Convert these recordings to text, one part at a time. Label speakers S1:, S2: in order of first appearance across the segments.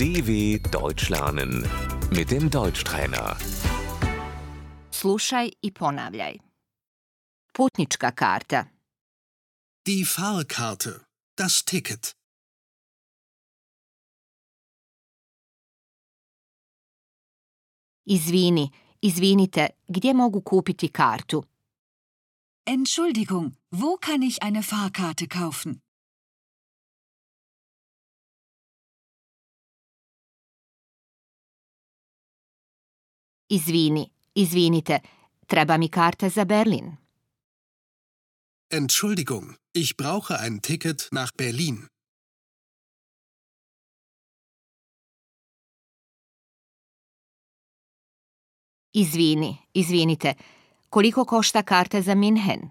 S1: DW Deutsch lernen mit dem Deutschtrainer.
S2: Slušaj i ponavljaj. Putnička karta,
S3: Die Fahrkarte. Das Ticket.
S2: izvini, izvinite, gdje mogu kupiti kartu?
S4: Entschuldigung, wo kann ich eine Fahrkarte kaufen?
S2: Izvini, izvinite, treba mi karta za Berlin.
S3: Entschuldigung, ich brauche ein Ticket nach Berlin.
S2: Izvini, izvinite, koliko košta karta za Minhen?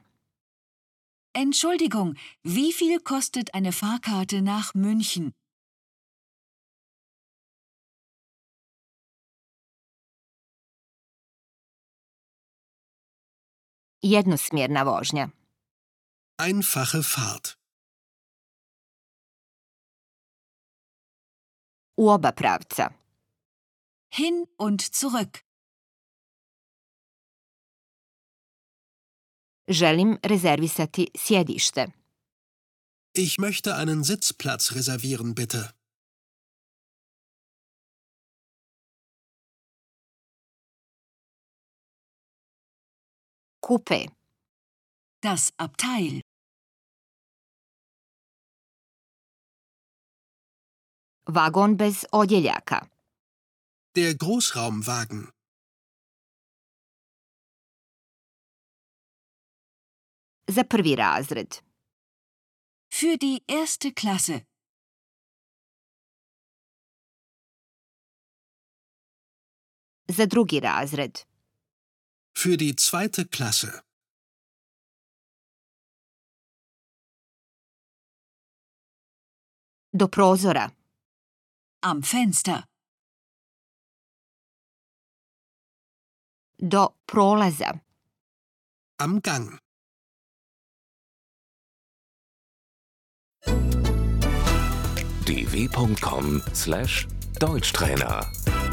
S4: Entschuldigung, wie viel kostet eine Fahrkarte nach München?
S2: Jednosmjerna vožnja.
S3: Einfache Fahrt.
S2: U oba pravca.
S4: Hin und zurück.
S2: Želim rezervisati sjedište.
S3: Ich möchte einen Sitzplatz reservieren, bitte.
S2: Kupe,
S4: Das Abteil.
S2: vagon bez odjeljaka,
S3: Der Großraumwagen.
S2: za prvi razred.
S4: Für die erste Klasse.
S2: za drugi razred,
S3: Für die zweite Klasse.
S2: do prozora,
S4: Am Fenster.
S2: do prolaza,
S3: Am Gang.
S1: dw.com/deutschtrainer